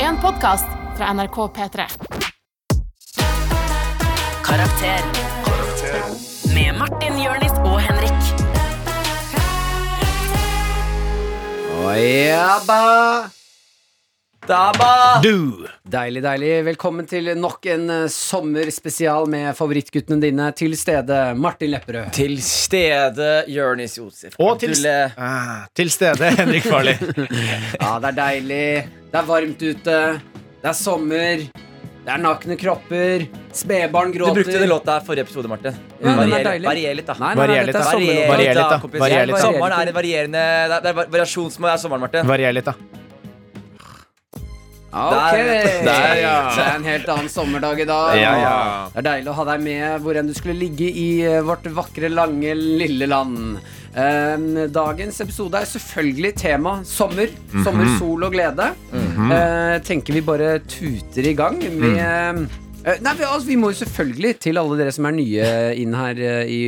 en podkast fra NRK P3. Karakter. Med Martin, Jørnis og Henrik. Jabba! Dabba! Du! Deilig, deilig. Velkommen til nok en eh, sommerspesial med favorittguttene dine til stede. Martin Lepperød. Til stede Jørnis Josef. Og til- Abdulle- Ah, til stede Henrik Farley. Ja, det er deilig. Det er varmt ute. Det er sommer. Det er nakne kropper. Spedbarn Du gråter. brukte den låta her forrige episode, Martin. Ja, den er Varier- Mm. deilig. varier litt, da. Nei, nei, nei, Varier litt, dette er da. sommerlåt. Varier litt, da. kompis. Varier litt, da. Sommeren er en varierende Det er- det er var- variasjon som er sommeren, Martin. Varier litt, da. Ja, Ok. Der- der, ja. Det er en helt annen sommerdag i dag. Ja, ja. Det er deilig å ha deg med hvor enn du skulle ligge i eh, vårt vakre, lange, lille land. Eh, Dagens episode er selvfølgelig tema sommer. Sommer, sol og glede. Eh, Tenker vi bare tuter i gang med eh, Nei, vi, altså, vi må jo selvfølgelig til alle dere som er nye inn her eh, i,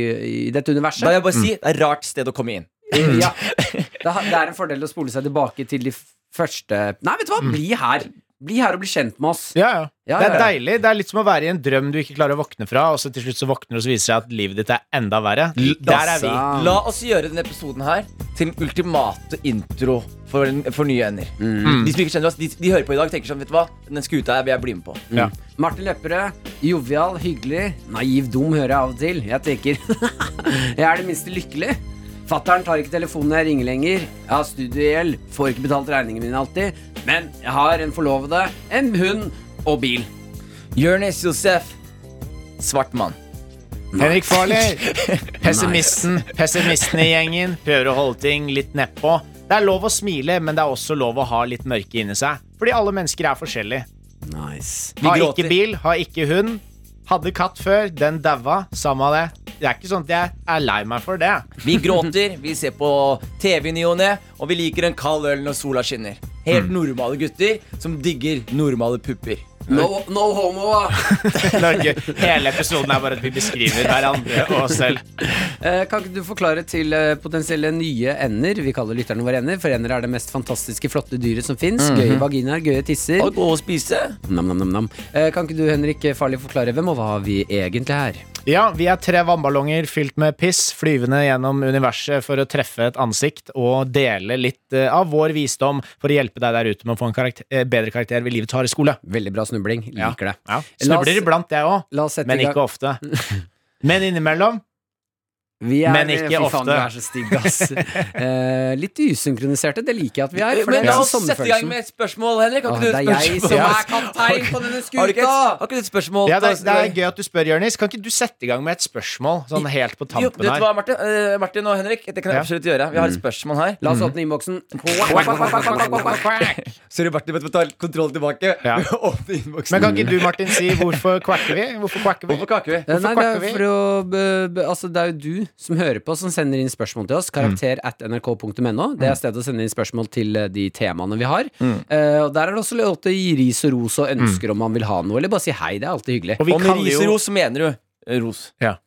i dette universet. Mm. Da vil jeg bare si Mm. det er et rart sted å komme inn. Ja. Det, har- det er en fordel å spole seg tilbake til de f- første Nei, vet du hva, bli her. Bli her og bli kjent med oss. Ja, ja. Ja, Det ja, er ja. deilig. Det er litt som å være i en drøm du ikke klarer å våkne fra, og så til slutt så våkner du, og så viser det seg at livet ditt er enda verre. Der er vi. sant. La oss gjøre denne episoden her til den ultimate intro for, for nye ender. Mm. De som ikke kjenner oss, de, de hører på i dag tenker sånn, vet du hva, den skuta her vil jeg bli med på. Ja. Martin Lepperød, jovial, hyggelig, naiv, dum hører jeg av og til. Jeg tenker Jeg er det minste lykkelig. Fattern tar ikke telefonen når jeg ringer lenger. Jeg har studiegjeld, får ikke betalt regningene mine alltid. Men jeg har en forlovede, en hund og bil. Jørnis Josef, svart mann. Henrik Farley. Pessimisten. Pessimisten i gjengen. Prøver å holde ting litt nedpå. Det er lov å smile, men det er også lov å ha litt mørke inni seg. Fordi alle mennesker er forskjellige. Nice. Vi Har gråter. ikke bil, har ikke hund. Hadde katt før, den daua. Samme av det. Det er ikke sånn at jeg er lei meg for det. Vi gråter, vi ser på TV i ny og ne, og vi liker en kald øl når sola skinner. Helt normale gutter som digger normale pupper. No, no homo. da. Norge. Hele episoden er bare at vi beskriver hverandre og oss selv. Eh, Kan ikke du forklare til eh, potensielle nye ender Vi kaller lytterne våre ender, for ender er det mest fantastiske, flotte dyret som fins. Gøye vaginaer, gøye tisser. Og gå og spise. Nam, nam, nam, nam. Eh, Kan ikke du, Henrik Farley, forklare hvem og hva vi egentlig er? Ja, vi er tre vannballonger fylt med piss, flyvende gjennom universet for å treffe et ansikt og dele litt eh, av vår visdom for å hjelpe deg der ute med å få en karakter, eh, bedre karakter ved livets harde skole. Veldig bra snubling. Liker det. La Ja. oss- Snubler iblant, jeg òg, La oss sette men i ikke gang. ofte. Men innimellom. Vi er, men ikke fy faen, ofte. du er så stygg, ass. Eh, litt usynkroniserte, det liker jeg at vi er. For det Men la er oss sette i gang med et spørsmål, Henrik. Har Åh, ikke du det er et jeg spørsmål? som Ja. er kaptein på denne Har du ikke et, skuta! har ikke du et spørsmål? Ja, det, til er, oss? det er gøy at du spør, Jørnis. Kan ikke du sette i gang med et spørsmål sånn helt på Jo, tampen vet du hva, her? Martin, Eh, Martin og Henrik, det kan jeg Ja. absolutt gjøre. Vi har et spørsmål her. La Mhm. oss åpne innboksen. Nei, Sorry, Martin, men vi tar kontroll tilbake. Ja. Åpne innboksen. Men kan ikke du, Martin, si hvorfor quacker vi? Hvorfor quacker vi? Hvorfor kaker vi? Hvorfor det er, kakker vi? for å, be- be- altså, det er jo du som hører på, som sender inn spørsmål til oss. Karakter at nrk.no. Det Mm. er stedet å sende inn spørsmål til eh, de temaene vi har. Eh, og Der er det også lov til å gi ris og ros og ønsker om man vil ha noe, eller bare si hei. Det er alltid hyggelig. Mm. Og vi Om kaller jo riseros mener du eh, ros. Ja.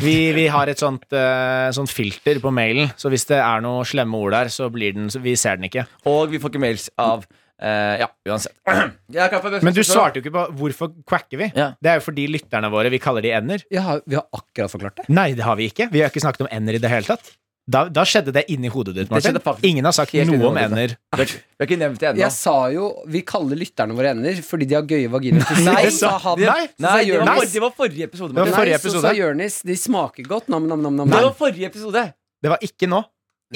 vi, vi har et sånt, eh, sånt filter på mailen, så hvis det er noen slemme ord der, så blir den, så vi ser den ikke. Og vi får ikke mails av eh, Ja, uansett. Jeg er klar for Men du svarte jo ikke på hvorfor quacker vi. Ja. Det er jo fordi lytterne våre vi kaller de ender. Jeg har, vi har akkurat forklart det. Nei, det har vi ikke. Vi har ikke snakket om ender i det hele tatt. Da, da skjedde det inni hodet ditt, Martin. skjedde faktisk Ingen har sagt helt inni noe om hodet ender. Vi har ikke- vi har ikke nevnt det ennå. Jeg sa jo vi kaller lytterne våre ender fordi de har gøye vaginaer. til Nei, sex, sa han. det- Nei, Så sa Nei, det var, Nei. Jonis- for, det var forrige episode. Det Martin. var forrige Nei, så episode. sa Jonis de smaker godt. Nam, nam, nam, nam. Det nam. var forrige episode. Det var ikke nå.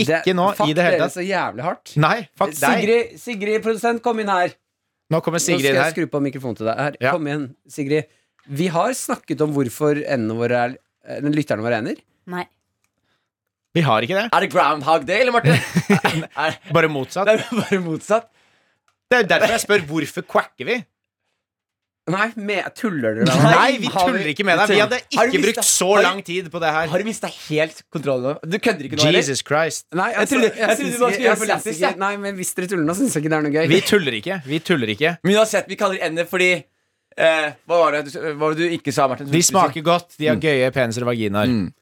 Ikke Det- nå fuck i det hele dere tatt. så jævlig hardt. Nei, fuck deg. Sigrid, Sigrid, produsent, kom inn her. Nå kommer Nå Sigrid skal jeg her. skru på mikrofonen til deg. Her. Ja. Kom igjen, Sigrid. Vi har snakket om hvorfor endene våre er eh, lytterne våre ender. Nei. Vi har ikke det. Er det Groundhog Day, eller, Martin? er, Bare det motsatt. er bare motsatt. Det er derfor jeg spør hvorfor quacker vi. Nei, med, tuller dere med meg? Nei, vi Har vi- tuller ikke med deg. Vi hadde Har du ikke brukt visst- så har du- lang tid på det her. Har du mista helt kontrollen? nå? Du kødder ikke nå, eller? Jesus Christ. Nei, Jeg trodde- jeg trodde syns du bare ikke- skulle gjøre jeg det for syns lættis, ikke- jeg. Nei, men hvis dere tuller nå, syns jeg ikke det er noe gøy. Vi tuller ikke. Vi tuller ikke. Men uansett, vi kaller det ender fordi eh, Hva var det du, hva var det du ikke sa, Martin? Mm. De smaker godt. De har gøye peniser og vaginaer.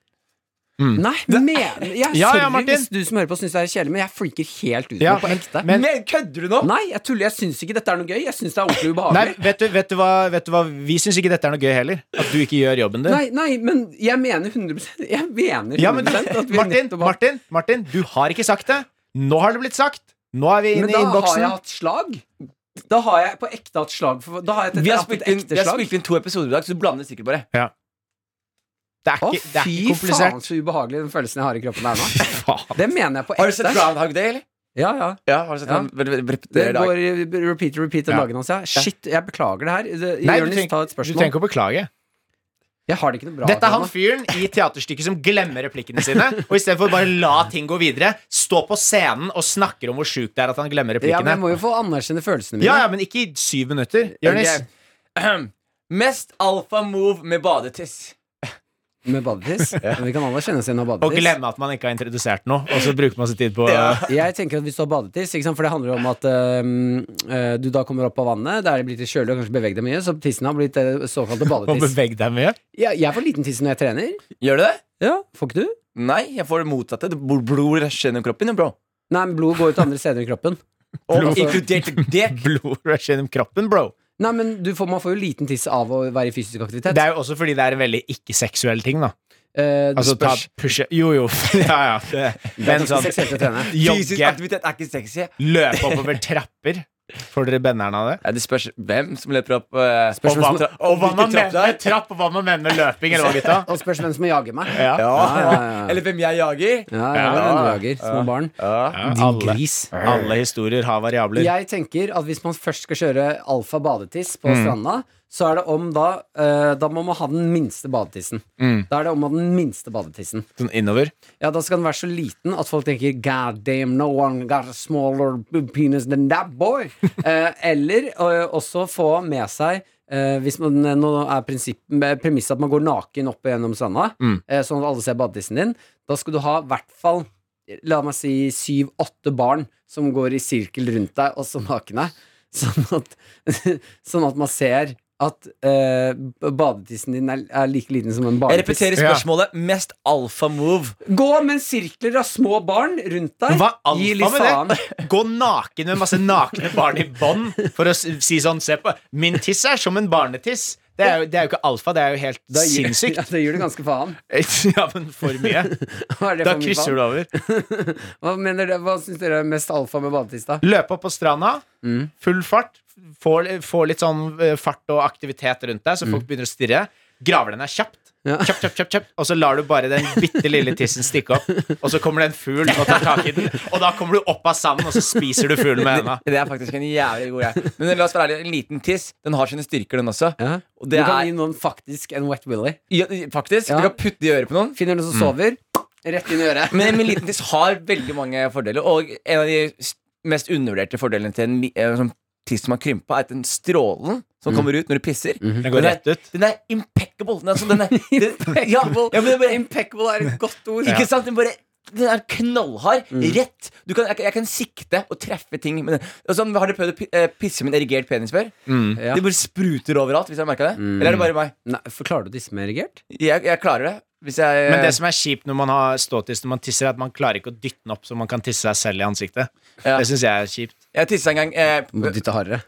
Nei, men jeg, Ja, ja, Sorry Martin. hvis du som hører på syns det er kjedelig, men jeg freaker helt ut nå Ja, på ekte. men- Men kødder du nå? Nei, jeg tuller. Jeg syns ikke dette er noe gøy. Jeg syns det er ordentlig Nei, ubehagelig. vet du, vet du, hva, vet du hva Vi syns ikke dette er noe gøy heller. At du ikke gjør jobben din. Nei, nei, men jeg mener 100 Jeg mener 100 Ja, men du, at vi Martin, nettopp har- Martin, Martin, du har ikke sagt det. Nå har det blitt sagt. Nå er vi Men inne i da har innboksen. jeg hatt slag. Da har jeg på ekte hatt slag. for- Da har jeg Vi har hatt et spilt inn, ekte vi har slag. spilt inn to episoder i dag, så du blander sikkert bare. Det er Å, ikke, det er fy ikke faen, komplisert. så ubehagelig den følelsen jeg har i kroppen her nå. Faen. Det mener jeg på Har du sett ekte. Groundhog Day, eller? Ja, ja. Ja, har du sett Ja. han vel- vel- Det repetere i dag? går i repeat, repeat den Ja. dagen hans, ja. Shit, jeg beklager det her. Det- Nei, du Jonis, ta trenger, et du spørsmål. trenger ikke å beklage. Jeg har det ikke noe bra. Dette er han akkurat nå. fyren i teaterstykket som glemmer replikkene sine. Og istedenfor bare la ting gå videre, stå på scenen og snakker om hvor sjukt det er at han glemmer Ja, men jeg replikkene. må jo få anerkjenne følelsene mine. Ja, ja, men ikke i syv minutter. Jonis. Ok. Ahem. Mest alfa move med badetiss. Med badetiss. Men vi kan alle kjenne oss igjen av Og badetiss. glemme at man ikke har introdusert noe, og så bruker man sin tid på Jeg tenker at hvis du har badetiss, ikke sant? for det handler om at øhm, øh, du da kommer opp av vannet, det er blitt litt kjølig og kanskje beveger deg mye, så tissen har blitt øh, såkalte å badetiss. bevege deg mye. Jeg, jeg får liten tiss når jeg trener. Gjør du det? Ja, får ikke du? Nei, jeg får det motsatte. Det bl- Blod rusher gjennom kroppen, jo, bro. Nei, men blodet går ut andre steder i kroppen. Og Blod- inkludert dekk. Blod rusher gjennom kroppen, bro. Nei, men du får, man får jo liten tiss av å være i fysisk aktivitet. Det er jo også fordi det er en veldig ikke-seksuell ting, da. Eh, det Altså ta spørs. pushe Jo, jo. Ja, ja. Det Det, er men ikke sånn seksuelt å trene. Fysisk jogge, aktivitet er ikke sexy. løpe oppover trapper. Får dere benneren av det? Ja, det spørs hvem som løper opp eh, Spørs Og hva, hvem som, og hva man hvilken trapp mener det er. med trapp, og hva man mener med løping, eller hva, gutta? og spørs hvem som jager meg. Ja. Ja. Ja, ja, ja. Eller hvem jeg jager. Ja, ja, ja. du jager små barn. Ja, Din alle, gris. alle historier har variabler. Jeg tenker at hvis man først skal kjøre alfa badetiss på stranda, så er det om da eh, Da må man ha den minste badetissen. Da er det om å ha den minste badetissen. Sånn innover. Ja, da skal den være så liten at folk tenker God damn, no one got a smaller penis than that boy. Eh, eller eh, også få med seg eh, hvis man, Nå er prinsipp- eh, premisset at man går naken opp gjennom stranda, Mm. eh, sånn at alle ser badetissen din. Da skal du ha i hvert fall La meg si syv-åtte barn som går i sirkel rundt deg, også nakne. Sånn at, sånn at man ser at eh, badetissen din er, er like liten som en Jeg barnetiss. repeterer spørsmålet. Mest alfa move. Gå med sirkler av små barn rundt deg. Hva er Gi alfa litt med faen. det? Gå naken med masse nakne barn i bånd for å s- si sånn Se på, min tiss er som en barnetiss. Det er jo, det er jo ikke alfa, det er jo helt Da gir, sinnssykt. Ja, da gir du ganske faen. Ja, men for mye. Hva, er det Da for mye faen? krysser du over. Hva, mener dere- hva syns dere er mest alfa med badetiss, da? Løpe opp på stranda, Mm. full fart. Få, få litt sånn eh, fart og aktivitet rundt deg, så folk begynner å stirre. Grave den her kjapt. Mm. Ja. Kjapp, kjapp, kjapp, kjapp. Og så lar du bare den bitte lille tissen stikke opp. Og så kommer det en fugl og tar tak i den, og da kommer du opp av sanden, og så spiser du fuglen med henda. Det er faktisk en jævlig god greie. Men la oss være ærlige, en liten tiss Den har sine styrker, den også. Ja. Og Du det kan er gi noen faktisk en wet willy. ja, Faktisk, Ja. Du kan putte det i øret på noen. Finner Mm. noen som sover, rett inn i øret. Men en liten tiss har veldig mange fordeler. Og en av de s- mest undervurderte fordelene til en li- eh, sånn tiss som har krympa, er at den strålen som Mm. kommer ut når du pisser, Mhm. Den går rett ut. Den er impeccable. Den er, sånn- den er, den, ja, ja, men den bare, Impeccable er et godt ord. ikke sant? Den, bare, den er knallhard. Mm. Rett. Du kan, jeg, kan- jeg kan sikte og treffe ting med den. Og sånn, har dere prøvd å pi- eh, pisse med en erigert penis før? Ja. Det bare spruter overalt. Hvis jeg har merket det Mm. Eller er det bare meg? Nei, for Klarer du å disse med erigert? Jeg, jeg klarer det. Hvis jeg Men det som er kjipt når man har ståtiss når man tisser, er at man klarer ikke å dytte den opp så man kan tisse seg selv i ansiktet. Ja. Det syns jeg er kjipt. Jeg tissa en gang eh, Dytte hardere.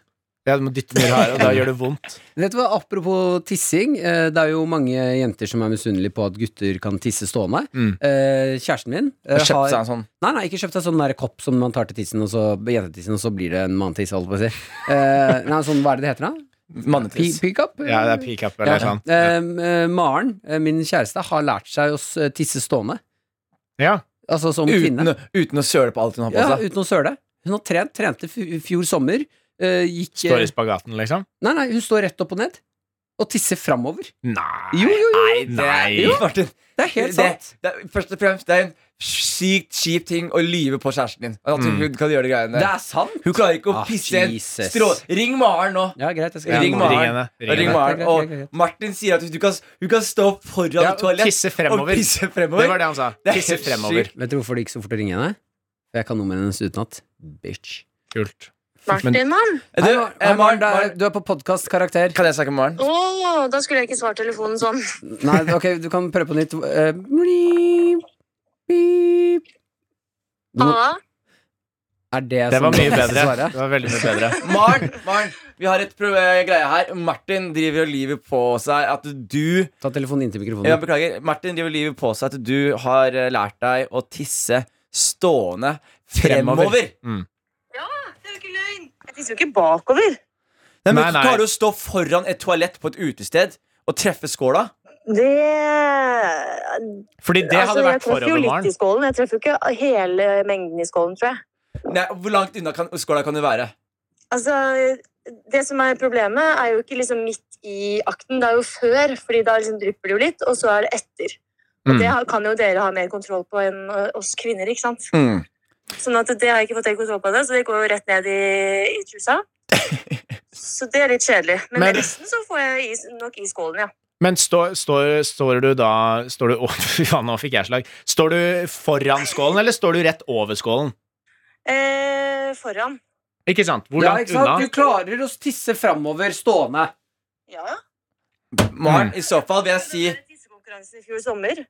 Ja, du må dytte den her, og da gjør det vondt. Vet du hva, Apropos tissing. eh, Det er jo mange jenter som er misunnelige på at gutter kan tisse stående. Mm. Eh, Kjæresten min eh, og kjøpte har seg en sånn. Nei, nei, ikke kjøpt deg sånn der kopp som man tar til tissen, og så jentetissen, og så blir det en manntiss, holdt på å si. Eh, nei, sånn, hva er det det heter da? Pi- Mannetiss. Pickup? Ja, det er pickup eller sånn. Eh, eh, Maren, eh, min kjæreste, har lært seg å s- eh, tisse stående. Ja. Altså som Uten, kvinne. å- uten å søle på alt hun har på altså. Ja, seg. uten å søle. Hun har trent, trente f- i fjor sommer. eh, gikk eh, Står i spagaten, liksom. Nei, nei, hun står rett opp og ned. Og tisser framover. Nei. Jo, jo, jo! Nei. Jo, Martin, Det er helt det, sant. det, er- først og fremst, det er en sykt kjip ting å lyve på kjæresten din. At hun kan gjøre de Mm. greiene Det der. er sant. Hun klarer ikke å Ah, pisse en Jesus. strå... Ring Maren nå! Ja, greit, jeg skal Ring Ja, Maren. henne. Ring henne. Greit, greit, Maren. greit, greit. Og Martin sier at du kan, hun kan stå foran Ja, et toalett tisse fremover. og pisse fremover. Det var det han sa. Det er Tisse helt fremover. sykt. Vet du hvorfor det gikk så fort å ringe henne? For jeg kan nummeret hennes utenat. Bitch. Kult. Martin, mann. Du, Hei, eh, Mar- hei, Maren, Maren, det er- Maren, du er på podkastkarakter. kan jeg snakke med Maren? Å, da skulle jeg ikke svart telefonen sånn. Nei, ok, du kan prøve på nytt. Eh, bleep, beep. Du må- Halla? Er det, Det som var mye det bedre. svaret? Det var veldig mye bedre. Maren, Maren, vi har et pro- eh, greie her. Martin driver livet på seg at du Ta telefonen inntil mikrofonen. Ja, beklager. Martin driver livet på seg at du har eh, lært deg å tisse stående fremover. Fremover. Det er jo ikke løgn. Jeg tisser jo ikke bakover. Nei, men Nei, nei. Klarer du å stå foran et toalett på et utested og treffe skåla? Det Fordi det hadde altså, jeg vært treffer jo forholdet, litt i Maren. skålen. Jeg treffer jo ikke hele mengden i skålen, tror jeg. Nei, Hvor langt unna kan, skåla kan du være? Altså, det som er problemet, er jo ikke liksom midt i akten, det er jo før, fordi da liksom drypper det jo litt, og så er det etter. Og Mm. Det har- kan jo dere ha mer kontroll på enn ø, oss kvinner, ikke sant? Mm. Sånn at det har jeg ikke fått helt kontroll på det, så det går jo rett ned i, i trusa. Så det er litt kjedelig. Men, Men- resten så får jeg is, nok i skålen, ja. Men står, står, står du da Står du Å, fy faen, nå fikk jeg slag. Står du foran skålen, eller står du rett over skålen? Eh, foran. Ikke sant? Hvor Ja, langt ikke sant? Du unna? klarer å tisse framover stående. Ja. Maren, i så fall vil jeg si Det var tissekonkurranse i fjor sommer.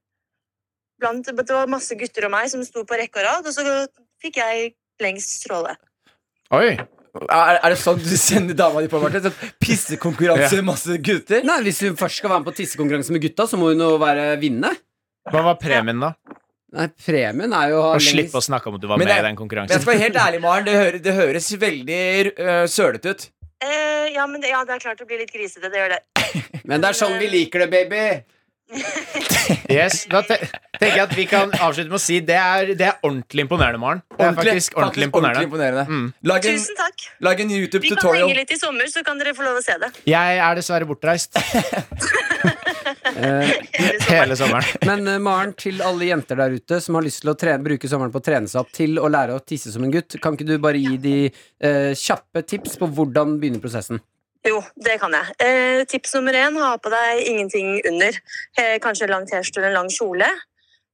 Blant, det var masse gutter og meg som sto på rekke og rad, og så fikk jeg lengst stråle. Oi! Er, er det sånn du sender dama di på, Martin? Sånn pissekonkurranse med masse gutter? Nei, Hvis hun først skal være med på tissekonkurranse med gutta, så må hun jo være vinne. Hva var premien, da? Nei, Premien er jo å ha Å lengst- slippe å snakke om at du var Men med i det- den Men jeg konkurransen. skal være helt ærlig, Maren. Det, hører, det høres veldig uh, sølete ut. Eh, ja, men det, ja, det er klart det blir litt grisete. Det gjør det. Men det er sånn vi liker det, baby. Yes, da te tenker jeg at vi kan avslutte med å si det er, det er ordentlig imponerende, Maren. Det er faktisk ordentlig imponerende. Mm. Lag, en, Tusen takk. lag en Vi kan henge YouTube-tutorial. litt i sommer, så kan dere få lov å se det. Jeg er dessverre bortreist Eh, Hele sommeren. hele sommeren. Men eh, Maren, til alle jenter der ute som har lyst til å tre bruke sommeren på å trene seg opp til å lære å tisse som en gutt, kan ikke du bare gi de eh, kjappe tips på hvordan begynne prosessen? Jo, det kan jeg. Eh, tips nummer én ha på deg ingenting under. Eh, kanskje en lang T-skjorte eller en lang kjole.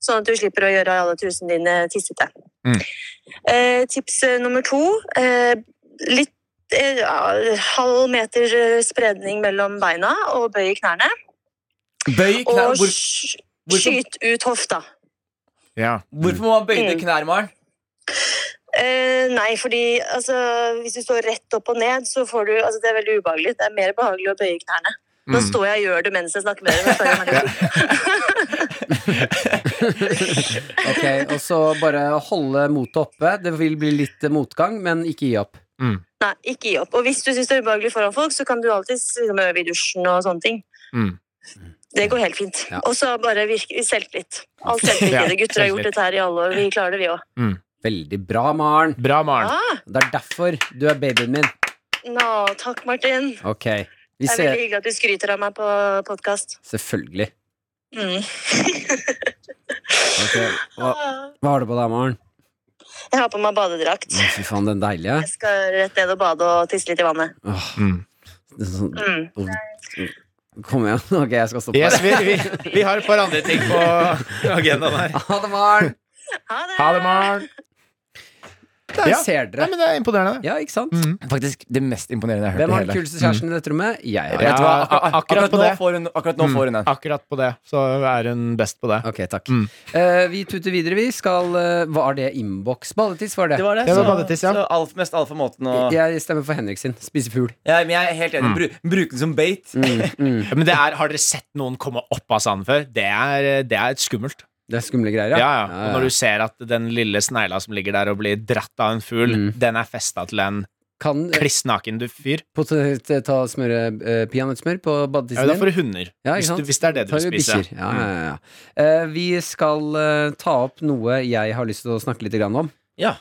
Sånn at du slipper å gjøre alle trusene dine tissete. Mm. Eh, tips eh, nummer to eh, litt eh, ja, halv meter eh, spredning mellom beina og bøy i knærne. Bøy knær. Og Hvor, sk- hvorfor- skyt ut hofta. Ja. hvorfor må man bøye Mm. knær, Maren? Eh, nei, fordi altså, hvis du står rett opp og ned, så får du altså, Det er veldig ubehagelig. Det er mer behagelig å bøye knærne. Nå Mm. står jeg og gjør det mens jeg snakker med dere. men sorry, Martin. Ok, Og så bare holde motet oppe. Det vil bli litt eh, motgang, men ikke gi opp. Nei, ikke gi opp. Og hvis du syns det er ubehagelig foran folk, så kan du alltids liksom, øve i dusjen og sånne ting. Mm. Det går helt fint. Ja. Og så bare virke selvtillit. All selvtillit Ja, i det. Gutter har gjort selvtillit. dette her i alle år. Vi klarer det, vi òg. Veldig bra, Maren. Bra, Maren. Ah, Det er derfor du er babyen min. nå, takk, Martin. Ok. Vi Det er veldig ser hyggelig at du skryter av meg på podkast. Selvfølgelig. Mm. Ok, Hva, Jeg hva har du på deg, Maren? har på meg badedrakt. Å, Fy faen, den deilige. Jeg skal rett ned og bade og tisse litt i vannet. Åh, Mm. det er sånn, Mm. kom igjen. Ok, jeg skal stoppe. Yes, vi, vi, vi har et par andre ting på agendaen her. Ha det, Maren. Ha det! Ha det, Maren. Der Ja. ser Nei, dere. men det er imponerende. det. Ja, ikke sant? Mm. Faktisk det mest imponerende jeg har hørt. Hvem i har hele. den kuleste kjæresten i dette rommet? Jeg har Ja. det. Vet du hva? Ak- ak- akkurat på akkurat, nå det. får hun, akkurat nå Mm. får hun den. Akkurat på det, så er hun best på det. Ok, takk. Mm. Eh, vi tuter videre, vi. Skal eh, Var det innboks? Balletiss, var det? var det. Det var så- badetiss, ja. Så alf, mest alfa måten å Jeg stemmer for Henrik sin. Spise fugl. ja, Men jeg er helt enig. Bru, bruk den som bait. Mm, Ja, Men det er, har dere sett noen komme opp av sanden før? Det er, det er skummelt. Det er skumle greier, Ja, ja. Og når du ser at den lille snegla som ligger der og blir dratt av en fugl, Mm. den er festa til en Kan eh, kliss naken du fyr. potensielt eh, ta smøre eh, peanøttsmør på Ja, det er badetissen din? for hunder. Ja, ikke hvis, du, sant? hvis det er det du Tar vil vi spise. Mm. bikkjer. Ja, ja, ja. Eh, vi skal eh, ta opp noe jeg har lyst til å snakke litt grann om.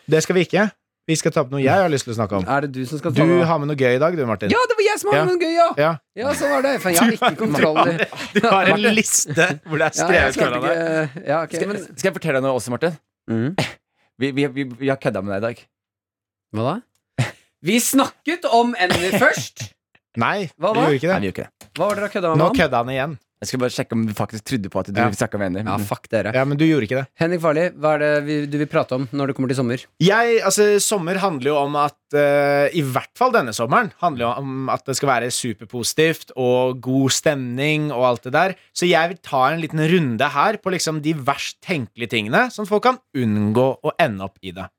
Det skal vi ikke. Vi skal ta opp noe jeg har lyst til å snakke om. Er det du som skal Du ta det? har med noe gøy i dag, du, Martin. Ja, det var jeg som hadde Ja. noe gøy, ja! Ja. Ja, så var det. For jeg har ikke kontroll. i- Du har en Martin. liste hvor det Ja, er jeg skrevet klarte foran deg. ikke Ja, ok, Skal, men skal jeg fortelle deg noe også, Martin? Mm. Vi, vi, vi, vi har kødda med deg i dag. Hva da? Vi snakket om Envy først. Nei, Hva vi da? gjorde ikke Nei, det. vi gjør ikke det. Hva var det dere kødda med? Nå om? kødda han igjen. Jeg skal bare sjekke om du faktisk trodde på at du Ja. snakka med henne. Ja, fuck dere. Ja, men du gjorde ikke det. Henrik Farli, hva er det vi, du vil prate om når det kommer til sommer? Jeg, altså, sommer handler jo om at eh, I hvert fall denne sommeren handler jo om at det skal være superpositivt og god stemning og alt det der. Så jeg vil ta en liten runde her på liksom de verst tenkelige tingene, sånn at folk kan unngå å ende opp i det.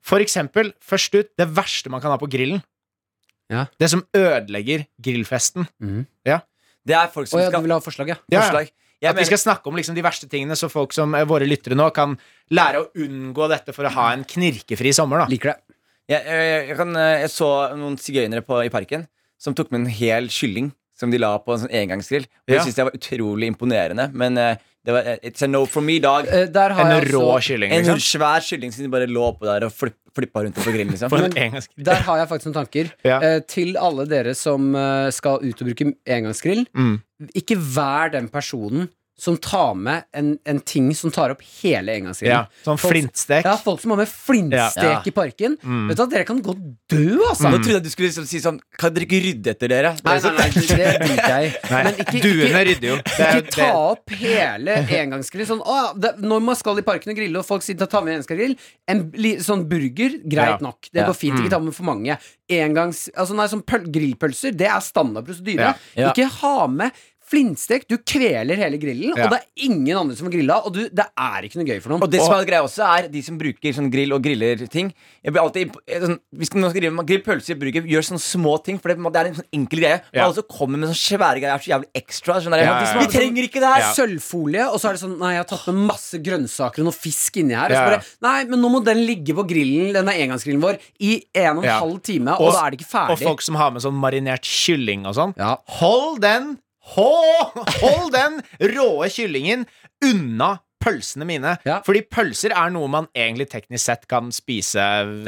For eksempel, først ut, det verste man kan ha på grillen. Ja. Det som ødelegger grillfesten. Det er folk Å som ja, du skal vil ha forslag, ja. Ja, ja. forslag. Jeg At vi mener- skal snakke om liksom de verste tingene, så folk som eh, våre lyttere nå kan lære å unngå dette for å ha en knirkefri sommer. da Liker det. Jeg, jeg, jeg, kan, eh, jeg så noen sigøynere på, i parken som tok med en hel kylling som de la på en sånn engangsgrill. Og Det Ja. synes jeg var utrolig imponerende, men eh, det var, it's a no for me, dag. Eh, Der har En jeg rå også kylling. En sånn Liksom. svær kylling som de bare lå oppå der og flipp, flippa rundt på grillen. Liksom. For Men, en engelsk Der har jeg faktisk noen tanker. Ja. Eh, til alle dere som eh, skal ut og bruke engangsgrill. Mm. Ikke vær den personen som tar med en, en ting som tar opp hele Ja, engangsgrillen. sånn Folk- flintstek. Ja, folk som har med flintstek Ja. i parken. Mm. Vet du hva, Dere kan godt dø, altså. Nå trodde jeg du skulle liksom si sånn Kan dere ikke rydde etter dere? sånn, Nei, nei, nei, det driter jeg i. Nei, Men ikke, duene ikke, rydder jo. Det er jo ikke ta det- opp hele engangsgrillen. Sånn, «Å, det, når man skal i parken og grille, og folk sier ta med engangsgrill, en li- sånn burger, greit Ja. nok. Det Ja. går fint. Ikke ta med for mange. Engangs, altså, nei, sånn pøl, grillpølser, det er standard prosedyre. Ja. Ja. Ikke ha med flintstek. Du kveler hele grillen, Ja. og det er ingen andre som får grilla, og du, det er ikke noe gøy for noen. Og det som er greia også er de som bruker sånn grill og griller ting. Jeg blir alltid imp- eh, sånn, Hvis man skal grill, grill pølser i burger, gjør sånne små ting. For det, på en måte er en sånn enkel greie. Og Ja. alle som kommer med sånne svære greier, er så jævlig ekstra. Skjønner jeg. Ja, ja, ja. Vi trenger ikke det her! Ja. sølvfolie, og så er det sånn Nei, jeg har tatt med masse grønnsaker og noe fisk inni her. Og så Ja, ja. bare Nei, men nå må den ligge på grillen, denne engangsgrillen vår, i en og en Ja. halv time, og, da er det ikke ferdig. Og folk som har med sånn marinert kylling og sånn. Ja. Hold den hå- Hold den råe kyllingen unna pølsene mine. Ja. Fordi pølser er noe man egentlig teknisk sett kan spise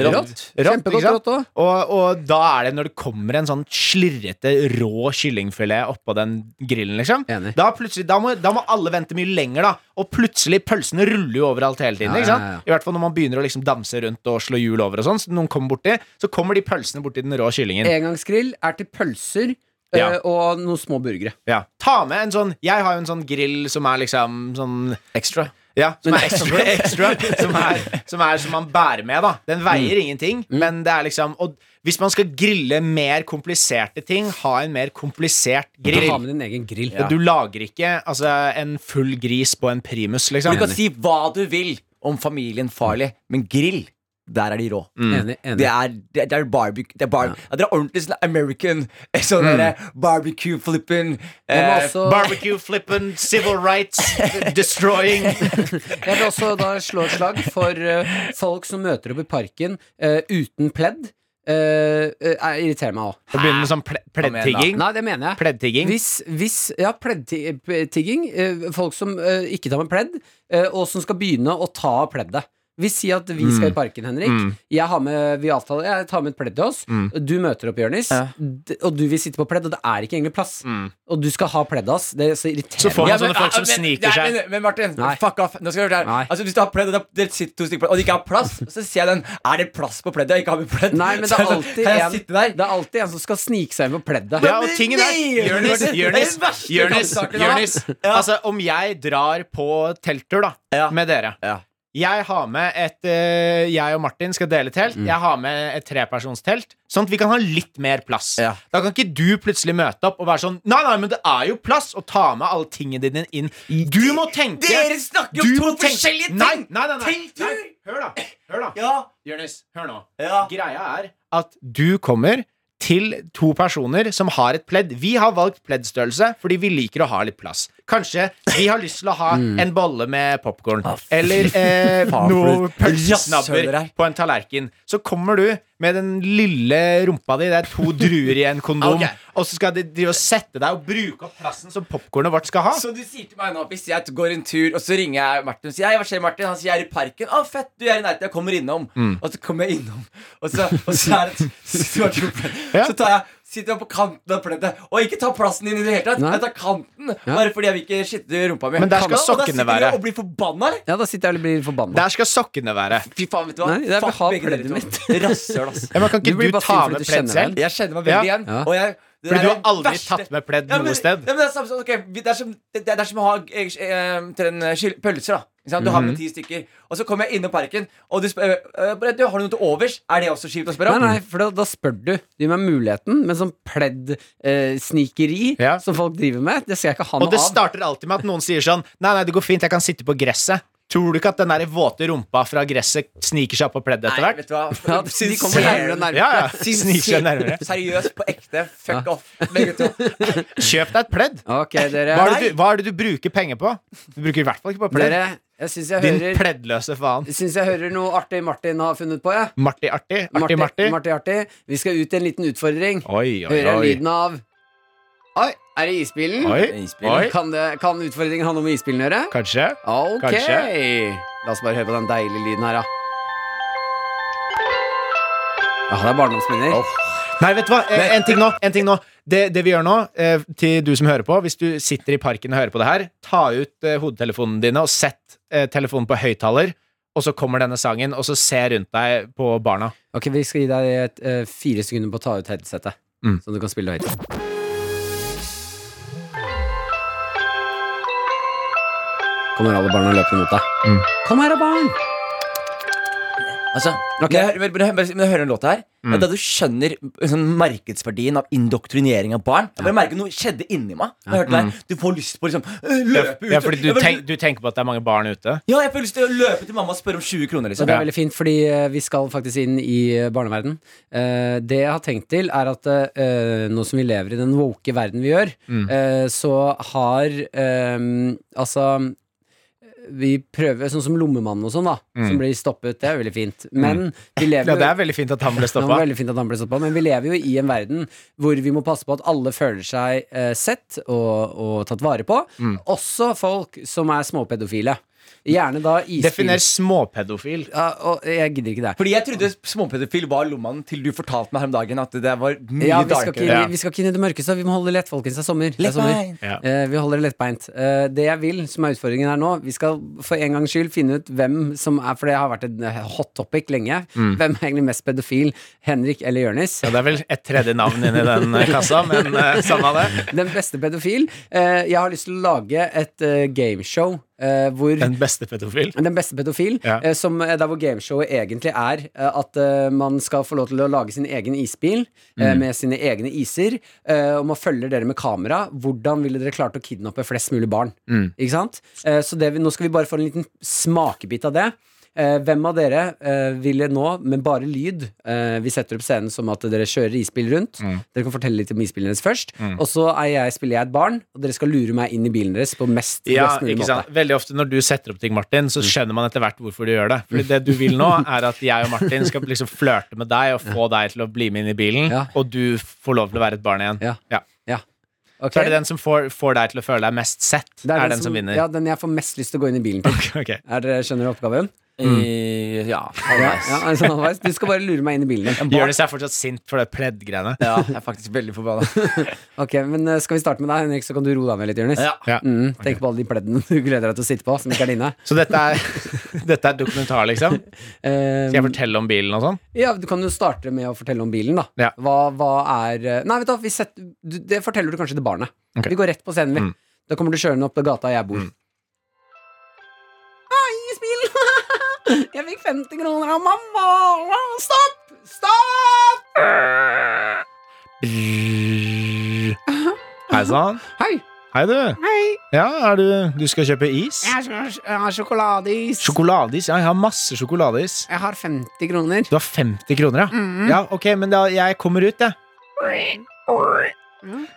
Rått. ikke Kjempegodt sant? rått òg. Og, og da er det når det kommer en sånn slirrete, rå kyllingfilet oppå den grillen, liksom. Enig. Da, plutselig- da, må, da må alle vente mye lenger, da. Og plutselig, pølsene ruller jo overalt hele tiden. Ja, ikke sant? ja, ja. I hvert fall når man begynner å liksom danse rundt og slå hjul over og sånn. Så noen kommer borti, så kommer de pølsene borti den rå kyllingen. Engangsgrill er til pølser ø, Ja. og noen små burgere. Ja. Ta med en sånn Jeg har jo en sånn grill som er liksom sånn Extra. Ja, som er extra, extra som, er, som er som man bærer med, da. Mm. Den veier ingenting, men det er liksom Og hvis man skal grille mer kompliserte ting, ha en mer komplisert grill. Ha med din egen grill. Du lager ikke altså, en full gris på en primus, liksom. Du kan si hva du vil om familien Farley, men grill, der er de rå. Mm. Enig. enig. Det er, det, det er barbecue Det er, bar ja. det er ordentlig sånn American eh, sånn Mm. derre barbecue-flippen. Jeg vil Eh, også, Barbecue flippin', civil rights, destroying jeg vil også da slå et slag for ø, folk som møter opp i parken ø, uten pledd. Ø, ø, er- irriterer meg òg. Det begynner med sånn ple pleddtigging. Nei, det mener jeg. Pleddtigging. Hvis, hvis ja, pleddtigging eh, Folk som eh, ikke tar med pledd, eh, og som skal begynne å ta av pleddet. Vi sier at vi Mm. skal i parken, Henrik. Jeg, har med, vi avtaler, jeg tar med et pledd til oss. Du møter opp, Jonis, Mm. Ja. Mm. d- og du vil sitte på pledd, og det er ikke egentlig plass. Og du skal ha pleddet hans. Det er så Så får irriterende. man Ja, sånne folk som men- sniker nei, seg. Men, men Martin, Nei. fuck off. Nå skal du høre det Nei. her. Altså, hvis du har pledd, og det det sitter to stykker på pledd, og det ikke er plass, så ser jeg den. Er det plass på pleddet? Jeg ikke har med pledd. Nei, men det Så er, jeg sånn, alltid Kan jeg en, sitte der? det er alltid en som skal snike seg inn på pleddet. Ja, og tingen er Nei, Jonis, det er Jonis, den verste Jonis, kampsaken, da. Jonis. Altså, om jeg drar på telttur da Ja. med dere Ja. Jeg har med et eh, Jeg og Martin skal dele telt. Mm. Jeg har med et trepersonstelt, sånn at vi kan ha litt mer plass. Ja. Da kan ikke du plutselig møte opp og være sånn Nei, nei, men det er jo plass! Og ta med alle tingene dine inn. Du må tenke Dere snakker om Du to må tenke- forskjellige ting. Nei, nei, nei, nei. Telttur. nei. Hør, da. Hør, da. Ja. Jonis, hør nå. Ja. Greia er at du kommer til to personer som har et pledd. Vi har valgt pleddstørrelse fordi vi liker å ha litt plass. Kanskje vi har lyst til å ha en bolle med popkorn. Eller eh, Mm. Ah, Faen, for noe et pølsesnabber rasshøler her. på en tallerken. Så kommer du med den lille rumpa di, det er to druer i en kondom, Ok. og så skal de drive og sette deg og bruke opp plassen som popkornet vårt skal ha. Så du sier til meg nå Hvis jeg går en tur, og så ringer jeg Martin og sier Hei, hva skjer, Martin? Han sier jeg er i parken. Å, fett, du jeg er i nærheten. Jeg kommer innom. Og så kommer jeg innom, og så, og så er det så, Ja. så tar jeg Sitter jeg på kanten av pleddet. Og ikke ta plassen din i det hele tatt. Nei. Jeg tar kanten bare fordi jeg vil ikke skitte rumpa mi. Men der skal Kanten, og da sokkene sitter være. jeg Og blir forbanna, eller? Ja, da sitter jeg og blir forbanna. Der skal sokkene være. Fy faen, vet du hva? Nei, jeg vil Fuck ha begge dere pleddet to. Rasshøl, ass. Ja, men kan Du ikke blir du bare ta sint fordi med du kjenner pledd selv? Jeg kjenner meg veldig Ja. igjen. Ja. Og jeg Det Fordi er du har det aldri verste- tatt med pledd Ja, men- noe sted. Ja, men det, er samme, som- ok, vi- det, er som, det, det er som å ha eh, eh, til en, eh, skyld- pølser. da Ikke sant? Du Mhm. har med ti stykker. Og så kommer jeg innom parken, og du spør eh, eh, du, Har du noe til overs. Er det også kjipt å Nei, spørre om? nei, for da, da spør du. Du gir meg muligheten, men sånn pledd-snikeri Ja. som folk driver med, det skal jeg ikke ha Og noe det av. starter alltid med at noen sier sånn Nei, nei, det går fint, jeg kan sitte på gresset. Tror du ikke at den der våte rumpa fra gresset sniker seg opp på pleddet etter Nei, hvert? vet du hva? Ja, de kommer nærmere og nærmere. Ja, ja. Sniker seg nærmere. Seriøst, på ekte. Fuck off. Begge to. Kjøp deg et pledd. Ok, dere. Hva er, det du, hva er det du bruker penger på? Du bruker i hvert fall ikke på pledd. Dere, jeg syns jeg, Din hører- pleddløse faen. jeg syns jeg hører noe artig Martin har funnet på, jeg. Marti-artig. Artig-marti. Marti-artig. Vi skal ut i en liten utfordring. Oi, oi, Hører jeg oi. lyden av Oi, er det isbilen? Oi, oi. Kan, det, kan utfordringen handle om isbilen å gjøre? Kanskje. Ok. Kanskje. La oss bare høre på den deilige lyden her, da. Ja, det er barndomsminner. Nei, vet du hva? Eh, En ting nå. En ting nå. Det, det vi gjør nå, eh, til du som hører på Hvis du sitter i parken og hører på det her, ta ut eh, hodetelefonene dine og sett eh, telefonen på høyttaler, og så kommer denne sangen, og så se rundt deg på barna. Ok, Vi skal gi deg et, eh, fire sekunder på å ta ut headsetet, Mm. så du kan spille høyt. Kommer alle barna løpende mot deg. Mm. Kom her, da, barn! Altså, Ok. når, jeg, hører- når, jeg, hører- når jeg hører den låta her, det er da du skjønner sånn, markedsverdien av indoktrinering av barn. Jeg bare merker noe skjedde inni meg. når Jeg hørte det her. Du får lyst på liksom øh, løpe ut. Ja, fordi du, Jeg bare- tenk, du tenker på at det er mange barn ute? ja, jeg får lyst til å løpe til mamma og spørre om 20 kroner. Så liksom det er veldig fint, fordi eh, vi skal faktisk inn i eh, barneverden. Eh, Det jeg har tenkt til, er at eh, nå som vi lever i den woke verden vi gjør, Mm. eh, så har eh, Altså vi prøver, Sånn som Lommemannen og sånn, da. Som blir stoppet. Det er veldig fint. Men vi lever Mm. Ja, jo det er veldig fint at han ble det var stoppa. veldig fint at han ble satt på, men vi lever jo i en verden hvor vi må passe på at alle føler seg eh, sett og, og tatt vare på. Mm. Også folk som er småpedofile. Gjerne da isbil... Definer småpedofil. Ja, og jeg gidder ikke det. Fordi jeg trodde småpedofil var lommemannen til du fortalte meg her om dagen at det var mye Ja, vi skal, ikke, darkere. Ja. vi skal ikke inn i det mørke, så vi må holde det lett, folkens. Det er sommer. Det er sommer. Lettbeint. Ja. Eh, vi holder det lettbeint. Eh, det jeg vil, som er utfordringen her nå Vi skal for en gangs skyld finne ut hvem som er For det har vært et eh, hot topic lenge. Hvem er egentlig mest pedofil? Henrik eller Jonis? Mm. Ja, det er vel et tredje navn inni den eh, kassa, men eh, samme av det. Den beste pedofil. Eh, jeg har lyst til å lage et eh, gameshow eh, hvor Den beste pedofil. den beste pedofil, Ja. eh, som eh, der hvor gameshowet egentlig er eh, at eh, man skal få lov til å lage sin egen isbil eh, Mm. med sine egne iser, eh, og man følger dere med kamera. Hvordan ville dere klart å kidnappe flest mulig barn? Mm. Ikke sant? Eh, så det vi, nå skal vi bare få en liten smakebit av det. Eh, hvem av dere eh, ville nå, med bare lyd eh, Vi setter opp scenen som at dere kjører isbil rundt. Mm. Dere kan fortelle litt om isbilen deres først. Og så er jeg, spiller jeg et barn, og dere skal lure meg inn i bilen deres på mest Ja, best mulig ikke måte. Mm. sant? Veldig ofte når du setter opp ting, Martin, så skjønner man etter hvert hvorfor du gjør det. Fordi det du vil nå, er at jeg og Martin skal liksom flørte med deg og få deg til å bli med inn i bilen, Ja. og du får lov til å være et barn igjen. Ja. Ja. Ja. Ok. Så er det den som får, får deg til å føle deg mest sett, Det er, den som, vinner. Ja, den jeg får mest lyst til å gå inn i bilen til. Ok. Er dere skjønner oppgaven? Eh, Ja, halvveis. Ja, altså, halvveis. Du skal bare lure meg inn i bilen din. Jonis er fortsatt sint for det pleddgreiene. Ja, jeg er faktisk veldig forbanna. Ok, men eh, Skal vi starte med deg, Henrik, så kan du roe deg ned litt, Jonis? Ja. Ja. Mm, tenk på alle de pleddene du gleder deg til å sitte på, som ikke er dine. Så dette er, dette er dokumentar, liksom? Eh, Skal jeg fortelle om bilen og sånn? ja, du kan jo starte med å fortelle om bilen, da. Ja. Hva, hva er eh, Nei, vet du hva, vi setter, du, det forteller du kanskje til barnet. Ok. Vi går rett på scenen, vi. Mm. Da kommer du kjørende opp til gata jeg bor. Mm. Ai, bilen! jeg fikk 50 kroner av mamma! Stopp! Stopp! Hei sann. Hei. Hei, du. Hei, Ja, er du Du skal kjøpe is? jeg har, jeg har sjokoladeis. Sjokoladeis? Ja, jeg har masse sjokoladeis. jeg har 50 kroner. Du har 50 kroner, ja? Mm. Ja, ok, men da, jeg kommer ut, jeg.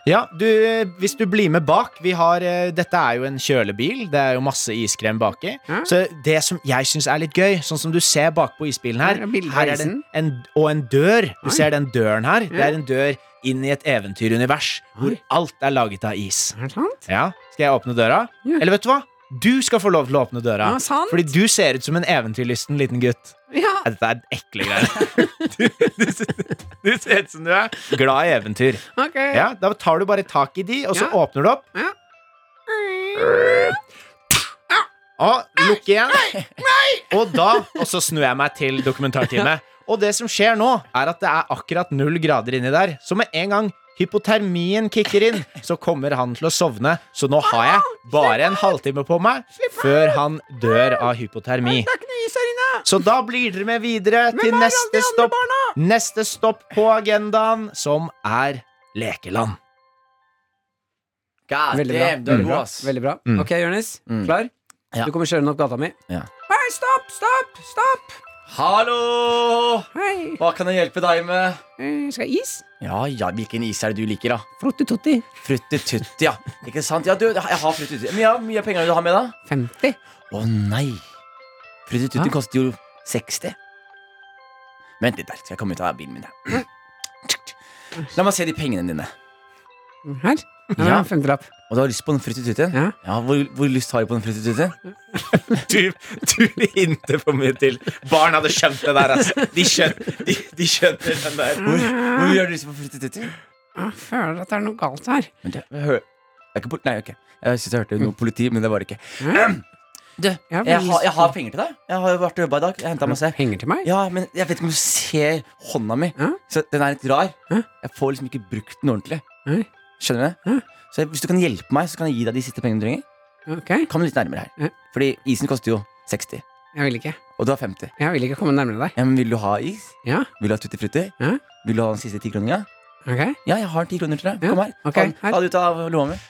Ja, du, eh, hvis du blir med bak vi har, eh, Dette er jo en kjølebil. Det er jo masse iskrem baki. Ja. Så det som jeg syns er litt gøy, sånn som du ser bakpå isbilen her Her er bildet av Her er det isen. en, og en dør. Du ser den døren her. Det er en dør inn i et eventyrunivers hvor alt er laget av is. Er det sant? Ja, Skal jeg åpne døra? Ja. Eller vet du hva? Du skal få lov til å åpne døra. Ja, sant. Fordi du ser ut som en eventyrlysten liten gutt. Ja. Nei, Dette er ekle greier. Du, du, ser- du ser ut som du er glad i eventyr. Ok. Ja, Da tar du bare tak i de, og så Ja. åpner du opp. Ja. Og lukk igjen. Og da Og så snur jeg meg til dokumentarteamet. Og det som skjer nå, er at det er akkurat null grader inni der. Så med en gang hypotermien kicker inn, så kommer han til å sovne. Så nå har jeg bare en halvtime på meg før han dør av hypotermi. Så da blir dere med videre til neste stopp, neste stopp på agendaen, som er lekeland. God Veldig bra. damn, du er Veldig god, bra. ass. Veldig bra. Mm. Ok, Jonis. Mm. Klar? Ja. Du kommer kjørende opp gata mi. Ja. Hei, stopp, stopp, stopp! Hallo! Hei, Hva kan jeg hjelpe deg med? eh, skal jeg ha is? Ja, ja, Hvilken is er det du liker, da? Frutti-tutti. Fruttetutti, ja. Ikke sant? Ja, du, jeg har fruttetutti. Men ja, hvor mye penger er det du har med, da? 50. Å nei! Fruttetutti Hæ? koster jo 60. Vent litt der, skal jeg komme ut av bilen min. her. La meg se de pengene dine. Her. Her er Ja. en femtelapp. Og du har lyst på den fruttetuttien? Ja. hvor, hvor lyst har du på den fruttetuttien? Du, du hinter for mye til. Barn hadde skjønt det der, altså. De skjønner, de, de skjønner den der. Hvor, hvor mye har du lyst på fruttetutti? Jeg føler at det er noe galt her. Men det, hør, det er ikke pol... Nei, ok. Jeg synes jeg hørte noe politi, men det var det ikke. Du, jeg, har har- jeg lyst- har penger til deg. Jeg har jo vært og jobba i dag. Jeg henta masse. Penger til meg? Ja, men jeg vet ikke om du ser hånda mi. Hæ? Så Den er litt rar. Hæ? Jeg får liksom ikke brukt den ordentlig. Nei. Skjønner du det? Så jeg, hvis du kan hjelpe meg, så kan jeg gi deg de siste pengene du trenger. Ok, Kom litt nærmere her. Hæ? Fordi isen koster jo 60, jeg vil ikke. og du har 50. Jeg vil ikke komme nærmere deg. Ja, men vil du ha is? Ja, Vil du ha tutti frutti? Hæ? Vil du ha den siste tikroninga? ok. Ja, jeg har ti kroner til deg. Ja, Kom her. ok, Ta den- her. Ta det ut av lomma mi.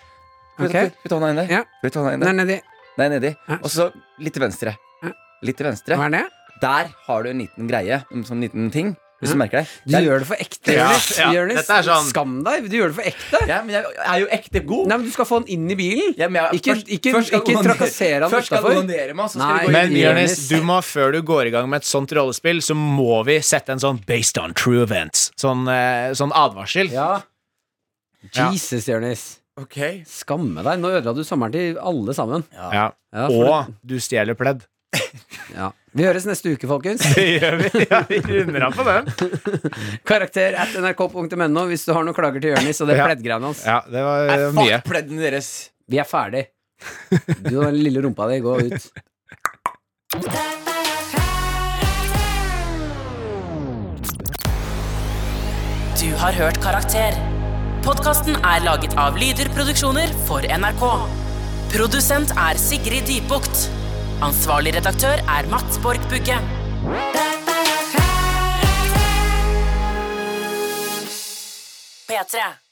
Putt- Ok. putt- Putt hånda inn der. Ja. Putt hånda inn Den der. er nedi. Nei, nedi. Hæ? Og så litt til venstre. Hæ? Litt til venstre. Hva er det? Der har du en liten greie. En sånn liten ting. Hvis Hæ? du merker det. Du Der- gjør det for ekte, Ja, Jonis. ja. Jonis, Dette er sånn- Skam deg. Du gjør det for ekte. Ja, men jeg, jeg er jo ekte god. Nei, men Du skal få den inn i bilen. Ja, men jeg- Ikke- ikke- skal ikke onanere- trakassere han Først skal utenfor. du onanere meg, så skal Nei. vi gå Men inn i Jonis, Jonis. du må, før du går i gang med et sånt rollespill, så må vi sette en sånn 'based on true events'. Sånn, eh, sånn advarsel. Ja. Ja. Jesus, Jonis. Ok Skamme deg. Nå ødela du sommeren til alle sammen. Ja. Ja, for- Og du stjeler pledd. ja. Vi høres neste uke, folkens. Det gjør vi. Ja, vi runder av på den. Karakter at nrk.no hvis du har noen klager til Jonis og det Ja. pleddgreiene hans. Ja, det var eh, mye. Fuck pledden deres. Vi er ferdig. Du og den lille rumpa di, gå ut. Du har hørt Karakter. Podkasten er laget av Lyder Produksjoner for NRK. Produsent er Sigrid Dybukt. Ansvarlig redaktør er Mats Borg Bugge. P3.